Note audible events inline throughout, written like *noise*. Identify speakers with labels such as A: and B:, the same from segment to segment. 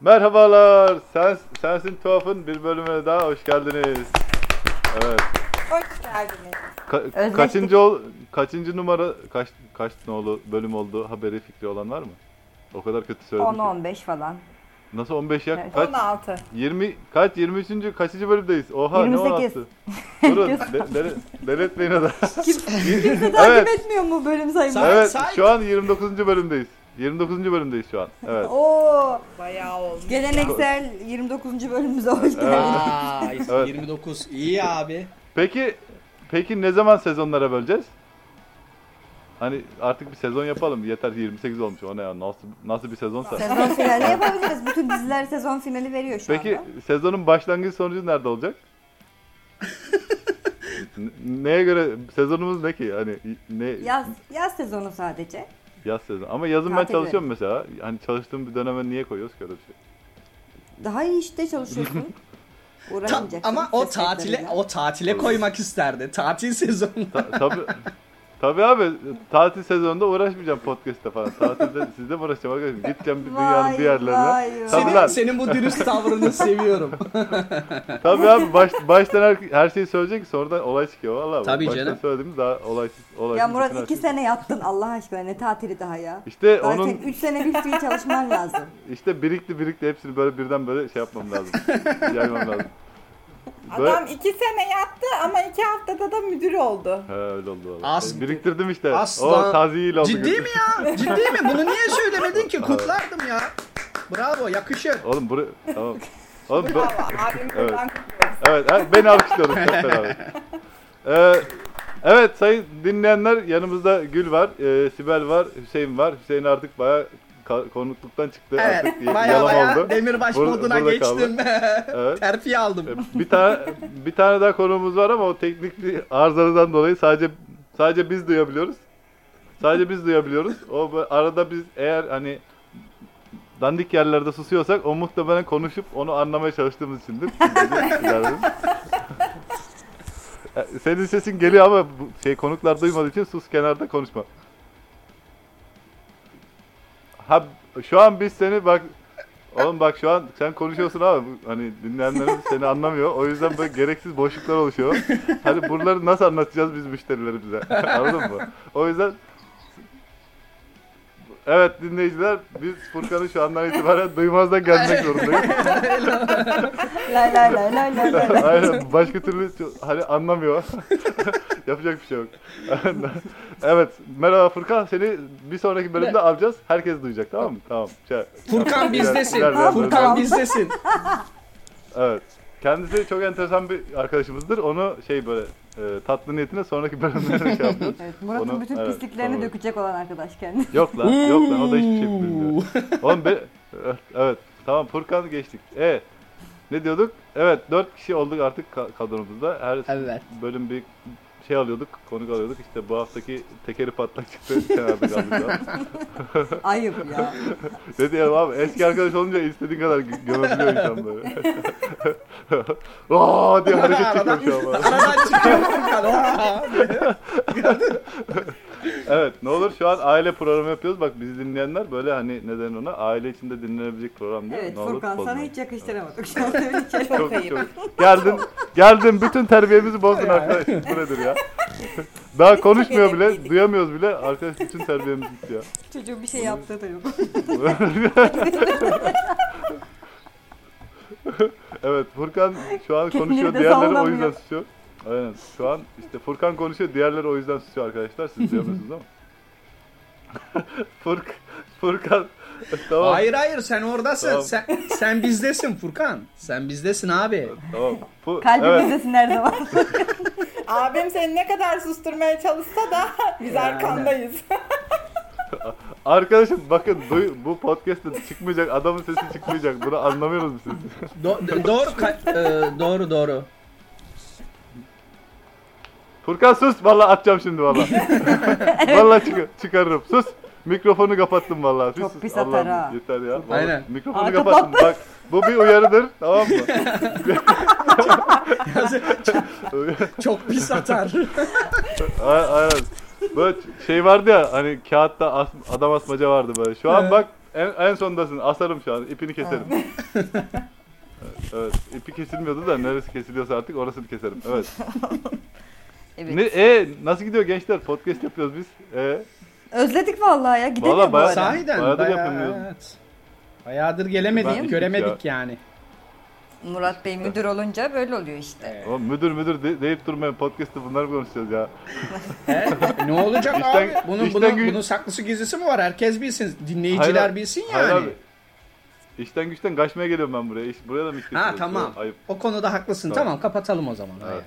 A: Merhabalar. Sens, Sensin Tuhaf'ın bir bölümüne daha hoş geldiniz. Evet.
B: Hoş geldiniz.
A: Ka-
C: Özleştik.
A: kaçıncı ol- kaçıncı numara kaç kaç nolu bölüm oldu haberi fikri olan var mı? O kadar kötü söyledim. ki.
C: 10-15 falan.
A: Nasıl 15 ya?
C: Evet.
A: şey. Kaç
B: 16.
A: 20 kaç 23. kaçıncı bölümdeyiz? Oha ne
C: 28.
A: 16? Durun. de- dele- Delirtmeyin adam. *laughs*
B: Kimse
A: *laughs* Evet.
B: takip etmiyor mu bölüm sayımı?
D: Say-
A: Evet,
D: say.
A: şu an 29. bölümdeyiz. 29. bölümdeyiz şu an. Evet.
B: Oo,
D: Bayağı olmuş.
B: geleneksel 29. bölümümüze hoş geldiniz.
D: Aa,
A: Evet.
D: 29. İyi abi.
A: Peki peki ne zaman sezonlara böleceğiz? Hani artık bir sezon yapalım. Yeter 28 olmuş. O ne ya? Nasıl nasıl bir sezonsa.
C: Sezon finali yapabiliriz. Bütün diziler sezon finali veriyor şu
A: Peki
C: anda.
A: sezonun başlangıç sonucu nerede
C: *laughs*
A: olacak? N- Neye göre sezonumuz ne ki? Hani ne
C: Yaz, yaz sezonu sadece.
A: yaz sezonu. Ama yazın ben
C: Tatil
A: çalışıyorum mesela. Hani çalıştığım bir döneme niye koyuyoruz ki öyle bir şey?
C: Daha iyi
A: *laughs*
C: işte çalışıyorsun.
D: Ta-
C: Uğraşmayacaksın.
D: ama o
C: ses
D: tatile
C: kayıtlarıyla.
D: o tatile koymak isterdi. Tatil sezonu.
A: Ta- tabii tabii abi tatil sezonunda uğraşmayacağım podcast'te falan. Tatilde sizle mi uğraşacağım arkadaşım? Gideceğim bir dünyanın
C: Vay,
A: bir yerlerine.
C: vay,
A: Tabii
D: senin,
A: lan.
D: senin bu
A: *laughs*
D: dürüst tavrını seviyorum.
A: Tabii abi baş, baştan her, her şeyi söyleyecek sonradan olay çıkıyor vallahi. bak,
D: Tabii
A: baştan
D: canım.
A: söylediğimiz daha olay olay.
C: Ya Murat 2 sene yattın Allah aşkına ne tatili daha ya.
A: şey. İşte
C: Zaten
A: onun
C: 3 sene bir fiil çalışman lazım.
A: işte birikti birikti hepsini böyle birden böyle şey yapmam lazım.
D: *laughs*
A: yaymam lazım. Böyle,
B: Adam 2 sene yattı ama 2 haftada da müdür oldu.
A: He, öyle oldu. vallahi.
D: Aslı-
A: Biriktirdim işte.
D: Aslan-
A: O taziye ile oldu.
D: Ciddi mi ya? Ciddi mi? Bunu niye söylemedin ki? Kutlardım ya. Bravo yakışır.
A: Oğlum buraya
D: *laughs*
A: tamam. Oğlum bu-
B: Bravo abim buradan kutluyoruz.
A: Evet, evet, beni alkışlıyoruz hep beraber. Ee, evet sayın dinleyenler yanımızda Gül var, e, Sibel var, Hüseyin var. Hüseyin artık baya konukluktan çıktı. artık
D: Evet.
A: y-
D: Baya
A: yalan
D: baya
A: oldu.
D: demirbaş
A: Burada-
D: moduna
A: burada
D: geçtim. *laughs*
A: Evet.
D: Terfi aldım.
A: E, Bir tane bir tane daha konuğumuz var ama o teknik bir arızadan dolayı sadece sadece biz duyabiliyoruz. Sadece biz duyabiliyoruz. O bu- arada biz eğer hani dandik yerlerde susuyorsak o muhtemelen konuşup onu anlamaya çalıştığımız içindir. E, Senin sesin geliyor ama bu şey konuklar duymadığı için sus kenarda konuşma. Ha şu an biz seni bak Oğlum bak şu an sen konuşuyorsun abi. Bu- Hani dinleyenlerimiz seni anlamıyor. O yüzden böyle gereksiz boşluklar oluşuyor. Hani buraları nasıl anlatacağız biz müşterilerimize? *laughs* Anladın mı? O yüzden Evet dinleyiciler biz Furkan'ı şu andan itibaren duymazdan gelmek zorundayız.
C: Lay lay lay lay lay lay.
A: Aynen başka türlü ço- hani anlamıyor. *laughs* Yapacak bir şey yok. *laughs* evet merhaba Furkan seni bir sonraki bölümde alacağız. Herkes duyacak tamam mı? Tamam. Şey,
D: Furkan bizdesin.
A: Ver, ver, ver,
D: Furkan
C: ver.
D: bizdesin.
A: Evet. Kendisi çok enteresan bir arkadaşımızdır. Onu şey böyle e, tatlı niyetine sonraki bölümlerde şey yapıyoruz.
C: *laughs* Evet, Murat'ın
A: Onu-
C: bütün
A: evet,
C: pisliklerini
A: doğru.
C: dökecek olan arkadaş
A: *laughs*
C: kendisi.
A: Yok lan, yok lan o da hiçbir şey bilmiyor.
D: Uuu.
A: Oğlum be, evet tamam Furkan geçtik. E ne diyorduk? Evet dört kişi olduk artık ka- kadromuzda. Her
D: Evet.
A: bölüm bir şey alıyorduk, konuk alıyorduk. İşte bu haftaki tekeri patlak çıktı. Kenarda kaldı şu an.
C: Ayıp ya.
A: Ne diyelim abi eski arkadaş olunca istediğin kadar gö- gömebiliyor insan böyle. *laughs* Aa diye hareket çekiyor şu an. böyle.
D: Aradan çıkıyor
A: *laughs*
D: Furkan. Aa.
A: Evet ne olur şu an aile programı yapıyoruz. Bak bizi dinleyenler böyle hani neden ona aile içinde dinlenebilecek program diye.
C: Evet
A: ne olur
C: Furkan sana
A: bozmayın.
C: hiç yakıştıramadık. Şu an söyleyeceğim.
B: Çok ayıp.
A: Çok- Geldin, geldin bütün terbiyemizi bozdun arkadaş. Bu nedir ya? Daha konuşmuyor bile,
B: edepsizlik.
A: duyamıyoruz bile. Arkadaş bütün terbiyemiz gitti ya.
C: Çocuğun bir şey yaptığı da yok.
A: evet Furkan şu an
C: Kendini
A: konuşuyor
C: de
A: diğerleri o
C: sallamıyor.
A: yüzden susuyor. Aynen şu an işte Furkan konuşuyor diğerleri o yüzden susuyor arkadaşlar. Siz duyamıyorsunuz ama. *laughs* Furk, Furkan *laughs* tamam.
D: Hayır hayır sen oradasın.
A: Tamam.
D: Sen, sen bizdesin Furkan. Sen bizdesin abi.
A: Tamam. Fu- evet.
C: Kalbimizdesin her zaman.
B: Abim seni ne kadar susturmaya çalışsa da biz
D: Yani.
B: arkandayız.
A: Arkadaşım bakın duy, bu podcast'ta çıkmayacak adamın sesi çıkmayacak. Bunu anlamıyoruz mu siz?
D: Do- do- doğru ka- e,
A: *laughs*
D: doğru doğru.
A: Furkan sus valla atacağım şimdi valla.
C: *laughs*
A: valla çık- çıkarırım. Sus. Mikrofonu kapattım valla. Sus,
C: Çok
A: sus.
C: pis atar
A: Allah'ım,
C: ha.
A: Yeter ya. Vallahi
D: Aynen.
A: Mikrofonu
C: Arka
A: kapattım. Bak bu bir uyarıdır tamam mı?
D: Çok pis atar.
A: A- Aynen. Böyle şey vardı ya hani kağıtta as- adam asmaca vardı böyle. Şu an
D: Evet.
A: bak En, en sondasın. Asarım şu an. İpini keserim. evet. ipi kesilmiyordu da neresi kesiliyorsa artık orasını keserim. Evet.
E: Evet.
A: Ne, e, nasıl gidiyor gençler? Podcast yapıyoruz biz. E,
C: Özledik vallahi ya. Gidemiyor
A: Vallahi
C: bu
A: bayağı-
C: ara.
D: Sahiden
A: Bayağıdır
D: bayağı-
A: yapamıyorum.
D: evet. Bayağıdır
A: Ben-
D: gelemedik, göremedik yani.
E: Murat Bey müdür olunca böyle oluyor işte.
A: oğlum müdür müdür de- deyip durmayın. Podcast'ı bunları mı konuşacağız ya.
D: He? E, ne olacak abi?
A: İşten-
D: Bunun,
A: işten
D: bunun,
A: gün-
D: bunun saklısı gizlisi mi var? Herkes bilsin. Dinleyiciler
A: Hayır abi-
D: bilsin yani.
A: Hayır abi. İşten güçten kaçmaya geliyorum ben buraya. İş, buraya da mı iş
D: Ha
A: getiriyorsun?
D: tamam.
A: Ayıp.
D: O konuda haklısın.
A: Tamam.
D: Tamam, kapatalım o zaman.
A: Evet.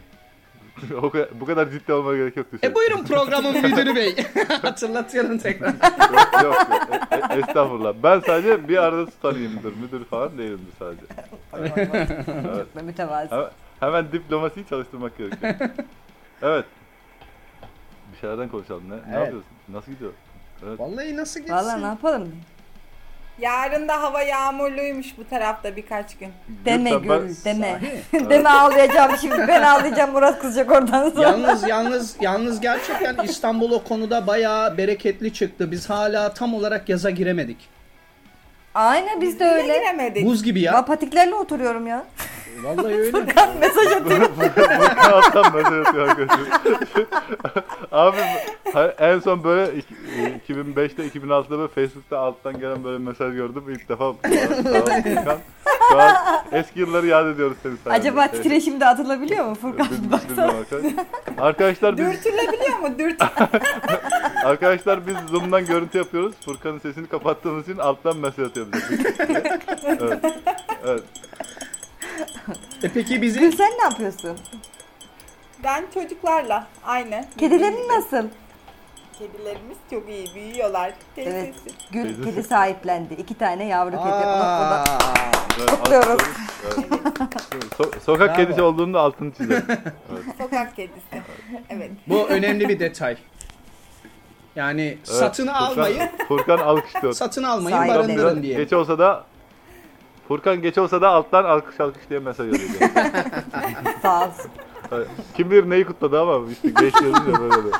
A: *laughs* o kadar, bu kadar ciddi olmaya gerek yoktu.
D: E buyurun programın müdürü bey. *laughs* Hatırlatıyorum tekrar.
A: yok, yok, yok. E- e- estağfurullah. Ben sadece bir arada tutanayım müdür. Müdür falan değilimdir sadece.
C: Vay vay vay. Çok da mütevazı.
A: Hemen, hemen diplomasiyi çalıştırmak
D: *laughs*
A: gerekiyor. evet. Bir şeylerden konuşalım. Ne, ne
D: Evet.
A: yapıyorsun? Nasıl gidiyor?
D: Vallahi nasıl gitsin?
C: Vallahi ne yapalım?
B: Yarın da hava yağmurluymuş bu tarafta birkaç gün.
C: Deme
A: Gülten, ben-
C: Gül, *laughs* deme.
D: Sahi.
C: deme ağlayacağım şimdi. Ben ağlayacağım Murat kızacak oradan sonra.
D: *laughs* yalnız yalnız yalnız gerçekten İstanbul o konuda bayağı bereketli çıktı. Biz hala tam olarak yaza giremedik.
C: Aynen biz de
B: Yine
C: öyle.
B: giremedik.
D: Buz gibi
C: Ya
D: ya. E,
C: patiklerle oturuyorum ya. *laughs*
D: Vallahi öyle.
C: Mesaj atıyor.
A: Ne yapsam böyle yapıyor arkadaşım. *laughs* Abi ha- en son böyle iki- e, 2005'te 2006'da böyle Facebook'ta alttan gelen böyle mesaj gördüm. İlk defa Tamam, Furkan. Şu an eski yılları yad ediyoruz senin sayende.
C: Acaba
A: Evet.
C: titreşim de atılabiliyor mu Furkan?
A: Bilmiyorum
C: Baksana.
A: arkadaşlar. Arkadaşlar biz
B: Dürtülebiliyor mu?
C: *laughs*
B: Dürt.
A: Arkadaşlar biz Zoom'dan görüntü yapıyoruz. Furkan'ın sesini kapattığımız için alttan mesaj atıyor bize. evet. evet.
D: E peki
C: Gül
D: bizim
C: sen ne yapıyorsun?
B: Ben çocuklarla aynı.
C: Kedilerin nasıl?
B: Kedilerimiz çok iyi büyüyorlar.
C: Evet.
B: Teyzesi.
C: Gül
A: Teyzesi.
C: kedi sahiplendi. İki tane yavru kedi. Ona- ona-
D: Aa,
A: evet.
C: Kutluyoruz.
A: So- sokak
D: Bravo.
A: kedisi olduğunu da altını çizelim.
C: *laughs*
B: Sokak kedisi. Evet.
D: bu önemli bir detay. Yani
A: Evet,
D: satın
A: Furkan-
D: almayın,
A: Furkan alkışlıyor.
D: satın almayın
C: Sahip
A: Furkan
C: Barındırın
A: biraz
D: barındırın diye.
A: Geç olsa da Furkan geç olsa da alttan alkış alkış diye mesaj yazıyor.
C: Sağ olsun.
A: Evet. *laughs* Kim bilir neyi kutladı ama işte geç yazınca böyle oluyor.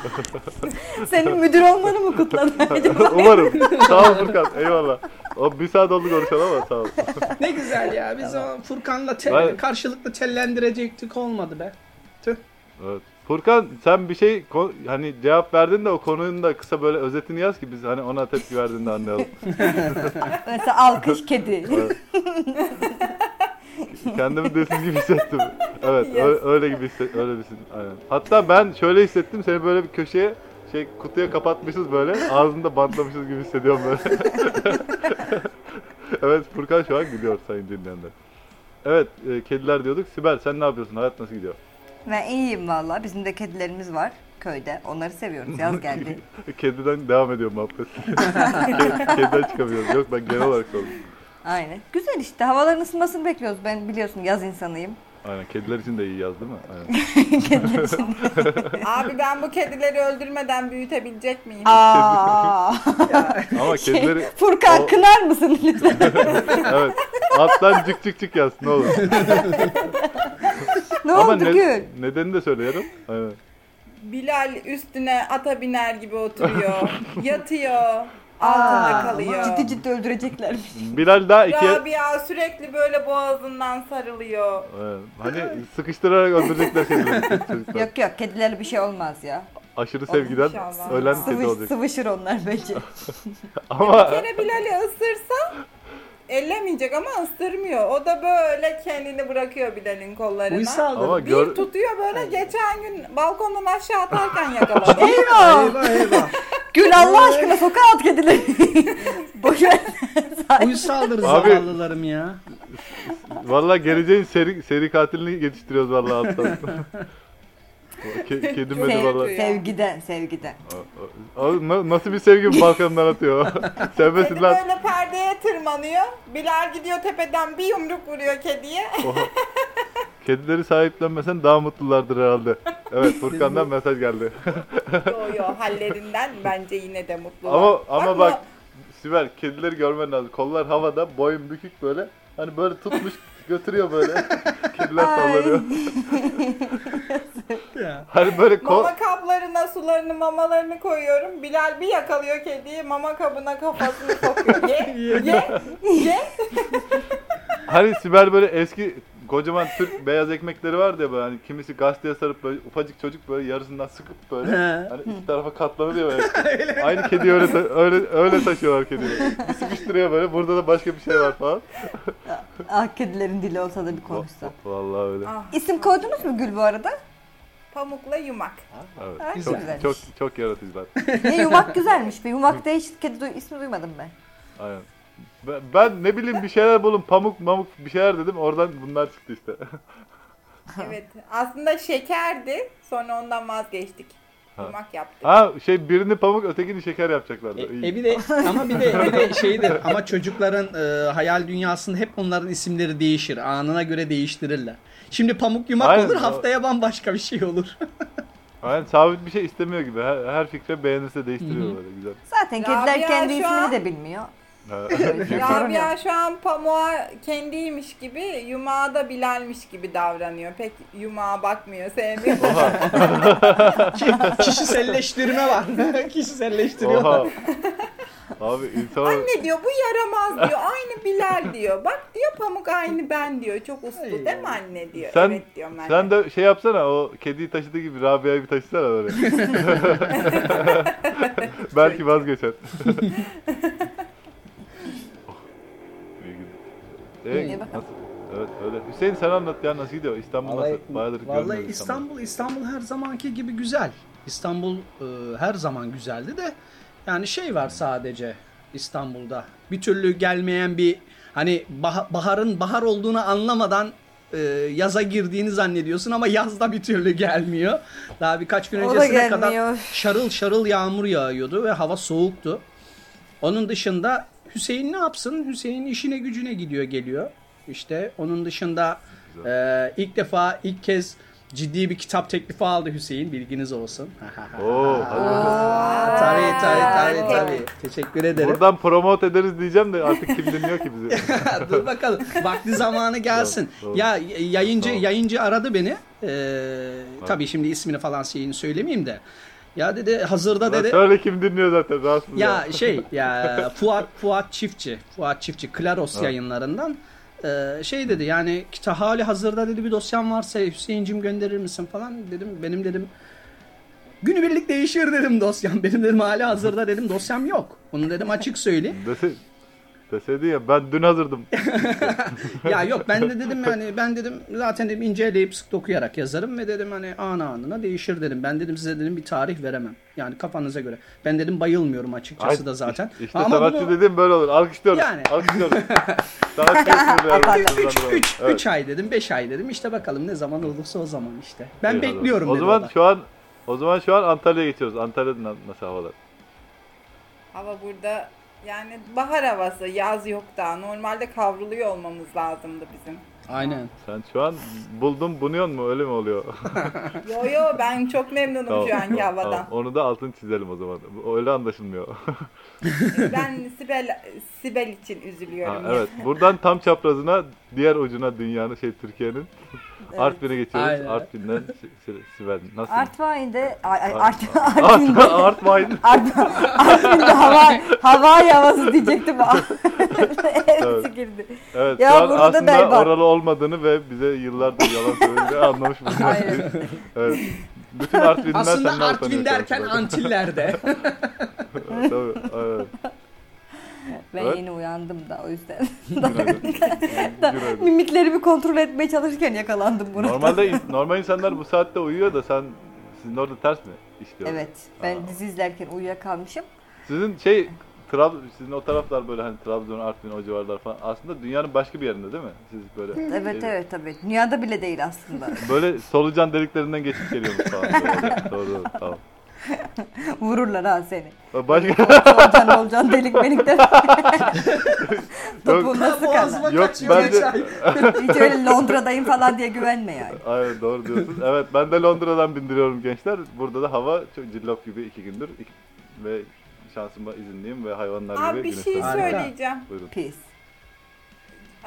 C: *laughs* Senin müdür olmanı mı kutladı acaba?
A: *laughs* Umarım. Sağ ol Furkan. Eyvallah. O bir saat oldu konuşalım ama sağ ol.
D: Ne güzel ya. Biz o Furkan'la te-
A: Vay.
D: karşılıklı tellendirecektik olmadı be.
A: Evet. Furkan sen bir şey ko- hani cevap verdin de o konunun da kısa böyle özetini yaz ki biz hani ona tepki verdiğini de anlayalım.
C: *laughs* Mesela alkış kedi.
A: Evet. Kendimi dilsiz gibi hissettim. Evet
B: Yes.
A: öyle, öyle gibi hisset, öyle misin? Aynen. Hatta ben şöyle hissettim seni böyle bir köşeye şey kutuya kapatmışız böyle ağzında bantlamışız gibi hissediyorum böyle. *laughs* evet Furkan şu an gülüyor sayın dinleyenler. Evet e, kediler diyorduk. Sibel sen ne yapıyorsun? Hayat nasıl gidiyor?
C: ben iyiyim vallahi. Bizim de kedilerimiz var köyde. Onları seviyoruz.
A: *laughs*
C: Yaz geldi.
A: Kediden devam ediyor muhabbet. *laughs* Ke- Kediden çıkamıyoruz. Yok ben genel olarak sordum.
C: Aynen. Güzel işte. Havaların ısınmasını bekliyoruz. Ben biliyorsun yaz insanıyım.
A: Aynen kediler için de iyi yaz değil mi? Aynen.
B: Abi ben bu kedileri öldürmeden büyütebilecek miyim?
A: *laughs*
C: Aa. Şey,
A: Ama kedileri
C: Furkan
A: O-
C: kınar mısın
A: *laughs*
C: lütfen?
A: evet alttan cık cık cık yaz ne olur.
C: ne
A: Ama
C: oldu
A: ne-
C: Gül?
A: nedenini de söylerim. Aynen.
B: Bilal üstüne ata biner
C: *laughs*
B: gibi oturuyor. yatıyor. Altında
C: Aa,
B: kalıyor.
C: Ciddi ciddi öldürecekler.
A: Bilal daha iki...
B: Rabia sürekli böyle boğazından sarılıyor.
A: Aynen. Hani sıkıştırarak öldürecekler kedileri. çocuklar.
C: yok yok kedilerle bir şey olmaz ya.
A: Aşırı
B: Olur
A: sevgiden
B: inşallah.
A: ölen kedi
C: Sıvış,
A: olacak.
C: sıvışır onlar bence.
B: Bir *laughs*
A: Ama
B: kere Bilal'i ısırsa ellemeyecek ama ısırmıyor. O da böyle kendini bırakıyor Bilal'in kollarına.
D: Uysaldır.
A: ama
B: Bir
A: gör...
B: tutuyor böyle geçen gün balkondan aşağı atarken
A: *laughs*
B: yakaladı.
C: Eyvah!
D: Eyvah eyvah.
C: Gül Allah aşkına sokağa at kedileri. *laughs* Boşver.
D: Uysaldır
A: Abi.
D: zavallılarım ya.
A: Valla geleceğin seri, seri katilini yetiştiriyoruz valla alttan. Ke- Kedim beni valla.
C: Sev, sevgiden, sevgiden.
A: Abi na- nasıl bir sevgi bu Balkanlar atıyor?
B: *laughs* Kedi
A: Sevmesin lan.
B: böyle perdeye tırmanıyor. Bilal gidiyor tepeden bir yumruk vuruyor
A: *laughs*
B: kediye.
A: Oha. Kedileri sahiplenmesen daha mutlulardır herhalde. Evet Furkan'dan mesaj geldi.
B: yo yo hallerinden bence yine de mutlu.
A: ama ama bak
B: bu-
A: Sibel kedileri görmen lazım. Kollar havada, boyun bükük böyle. Hani böyle tutmuş götürüyor böyle. Kediler
C: Ay.
A: sallanıyor.
D: Ya. ya.
A: Hani böyle ko-
B: Mama kaplarına sularını mamalarını koyuyorum. Bilal bir yakalıyor kediyi mama kabına kafasını
A: *laughs*
B: sokuyor. Ye ye ye.
A: hani Sibel böyle eski kocaman Türk beyaz ekmekleri vardı ya böyle hani kimisi gazeteye sarıp böyle ufacık çocuk böyle yarısından sıkıp böyle
D: He.
A: hani iki tarafa katlanır ya böyle. Aynı kedi öyle ta- öyle öyle taşıyorlar kediyi. Bir sıkıştırıyor böyle burada da başka bir şey var falan.
C: Ah kedilerin dili olsa da bir konuşsa.
A: Vallahi öyle.
B: Ah,
C: İsim koydunuz mu Gül bu arada?
B: pamukla yumak.
A: Evet.
C: Ha,
D: Güzel.
C: çok güzelmiş.
A: Çok çok yaratıcılar.
C: Ne yumak güzelmiş. Bir yumakta hiç kedi duy- ismi duymadım ben.
A: Aynen. Ben, ben ne bileyim bir şeyler bulun pamuk mamuk bir şeyler dedim oradan bunlar çıktı işte.
D: E-
B: Evet. Aslında şekerdi. Sonra ondan vazgeçtik.
A: Ha.
B: Yumak yaptık.
A: ha şey birini pamuk ötekini şeker yapacaklardı.
D: E,
A: İyi.
D: e bir de ama bir de, bir de şeydir ama çocukların e, hayal dünyasında hep onların isimleri değişir. Anına göre değiştirirler. Şimdi pamuk yumak
A: Aynen,
D: olur
A: o-
D: haftaya bambaşka bir şey olur. *laughs*
A: Aynen sabit bir şey istemiyor gibi. Her, her fikre beğenirse değiştiriyor böyle güzel.
C: Zaten
B: Rabia
C: kediler kendi
B: şu
C: ismini
B: an-
C: de bilmiyor.
A: Ha. hani?
B: Rabia şu an pamuğa kendiymiş gibi, yumağa da Bilal'miş gibi davranıyor. Pek yumağa bakmıyor, sevmiyor.
D: Kişiselleştirme var. *laughs* Kişiselleştiriyorlar.
A: Oha. Abi insan
B: Anne diyor bu yaramaz diyor. Aynı Bilal diyor. Bak diyor pamuk aynı ben diyor. Çok uslu değil mi anne diyor.
A: sen
B: evet diyorum ben.
A: sen de şey yapsana o kediyi taşıdığı gibi Rabia'yı bir taşısana
B: *laughs*
A: böyle. Belki
C: *laughs*
A: vazgeçer. İyi gidiyor. Ee,
C: İyi bakalım.
A: nasıl? Evet öyle. Hüseyin sen anlat ya nasıl gidiyor? İstanbul
D: Vallahi,
A: nasıl? Bayağıdır
D: vallahi
A: görmüyoruz
D: İstanbul İstanbul her zamanki gibi güzel. İstanbul e, her zaman güzeldi de yani şey var sadece İstanbul'da. Bir türlü gelmeyen bir hani bah- baharın bahar olduğunu anlamadan e, yaza girdiğini zannediyorsun ama yazda bir türlü gelmiyor. Daha birkaç gün
E: O da
D: öncesine kadar
E: gelmiyor.
D: şarıl şarıl yağmur yağıyordu ve hava soğuktu. Onun dışında Hüseyin ne yapsın? Hüseyin işine gücüne gidiyor geliyor. İşte onun dışında e, ilk defa ilk kez ciddi bir kitap teklifi aldı Hüseyin bilginiz olsun. *laughs*
A: Oo, hadi bakalım.
D: Aa, tabii tabii tabii tabii. Teşekkür ederim.
A: Buradan promote ederiz diyeceğim de artık kim dinliyor ki bizi?
D: *laughs* Dur bakalım. Vakti zamanı gelsin.
A: Doğru, doğru.
D: Ya y- yayıncı
A: Tamam.
D: yayıncı aradı beni. Ee, tabii şimdi ismini falan şeyini söylemeyeyim de. Ya dedi hazırda
A: Lan
D: dedi.
A: Söyle kim dinliyor zaten rahatsız
D: Ya şey
A: *laughs*
D: ya Fuat Fuat Çiftçi, Fuat Çiftçi Klaros yayınlarından e, şey dedi yani kita hali hazırda dedi bir dosyam varsa Hüseyin'cim gönderir misin falan dedim benim dedim günübirlik değişir dedim dosyam *laughs* benim dedim hali hazırda dedim dosyam yok bunu dedim açık söyleyeyim
A: Dese, deseydi ya ben dün hazırdım.
D: ya yok ben de dedim yani ben dedim zaten dedim inceleyip sık dokuyarak yazarım ve dedim hani ana anına değişir dedim. Ben dedim size dedim bir tarih veremem. Yani kafanıza göre. Ben dedim bayılmıyorum açıkçası
A: Ay,
D: da zaten.
A: İşte sanatçı
D: bunu-
A: dediğim böyle olur. Alkışlıyoruz.
D: Yani. *laughs*
A: Alkışlıyoruz. sanatçı ismi ver.
D: Üç,
A: Buradan
D: üç,
A: buraya.
D: üç ay dedim, 5 ay dedim. İşte bakalım ne zaman olursa o zaman işte. Ben
A: İyi, hadi.
D: bekliyorum
A: O
D: dedi
A: zaman
D: o da.
A: şu an o zaman şu an Antalya'ya geçiyoruz. Antalya'da na- nasıl havalar?
B: Hava burada yani bahar havası, yaz yok daha. Normalde kavruluyor olmamız lazımdı
A: *laughs*
B: bizim.
D: Aynen.
A: Sen şu an buldun bunuyon mu? Öyle mi oluyor?
B: Yo yo ben çok memnunum şu anki
A: tamam,
B: havadan.
A: tamam. Onu da altını çizelim o zaman. Bu- Öyle anlaşılmıyor.
B: Ben Sibel Sibel için üzülüyorum.
A: ha,
B: ya.
A: evet. Buradan tam çaprazına diğer ucuna dünyanın şey Türkiye'nin Artvin'e geçiyoruz.
D: Aynen.
A: Artvin'den Si- Si- Sibel. Nasıl?
C: Artvin'de, ay, ay, Art,
A: Art,
C: Artvin'de,
A: Artvin.
C: Art, Artvin'de hava, hava
A: *laughs*
C: havası diyecektim. Hepsi girdi.
A: Evet,
C: Ya
A: şu an
C: burada
A: aslında
C: berbat.
A: oralı olmadığını ve bize yıllardır yalan söylediğini
C: *laughs*
A: anlamış bunu.
C: Aynen.
A: evet. Bütün Artvinliler senden
D: Aslında
A: utanıyor
D: Artvin derken
A: şu an. *laughs*
D: Antiller'de.
A: Evet, Tabii,
C: *laughs*
A: aynen.
C: Ben
A: Evet.
C: yeni uyandım da o yüzden.
A: Günaydın. Günaydın.
C: Mimiklerimi kontrol etmeye çalışırken yakalandım buna.
A: Normalde in- normal insanlar bu saatte uyuyor da sen sizin orada ters mi işliyor?
C: Evet, ben
A: Aa.
C: dizi izlerken uyuyakalmışım.
A: Sizin şey Trab sizin o taraflar böyle hani Trabzon, Artvin o civarlar falan aslında dünyanın başka bir yerinde değil mi? Siz
C: *laughs*
A: böyle
C: Evet evet tabii. Dünyada bile değil aslında.
A: böyle solucan deliklerinden geçip geliyormuş falan. Böyle. doğru doğru tamam.
C: Vururlar ha seni.
A: Başka
C: Olcan olcan delik melikten.
A: yok,
C: Topuğuna sıkarlar.
D: Boğazıma
A: Yok,
D: kaçıyor
A: bence-
D: geçen.
C: Hiç öyle Londra'dayım falan diye güvenme yani.
A: Aynen doğru diyorsun. Evet ben de Londra'dan bindiriyorum gençler. Burada da hava çok cillop gibi iki gündür. İki- Ve şansıma izinliyim ve hayvanlar gibi
B: Abi bir şey
A: güneşten-
D: Harika.
B: söyleyeceğim.
A: Buyurun.
C: Pis.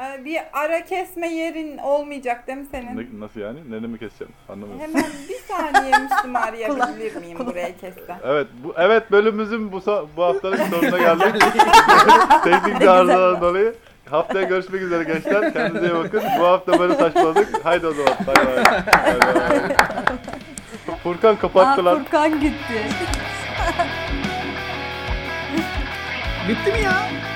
B: Ee, bir ara kesme yerin olmayacak değil mi senin?
A: Ne- nasıl yani? Neremi keseceğim? Anlamıyorum.
B: Hemen bir saniye Müslüm arayabilir miyim buraya kesten?
A: Evet, bu evet bölümümüzün bu so- bu
B: *laughs*
A: haftanın sonuna geldik. Teknik bir arızadan dolayı. Haftaya görüşmek üzere gençler. Kendinize iyi bakın. Bu hafta böyle saçmaladık. Haydi o zaman. Bay bay. Bay
B: *laughs*
A: bay. Furkan
E: Aa,
A: kapattı lan.
E: Furkan gitti.
D: Bitti mi ya?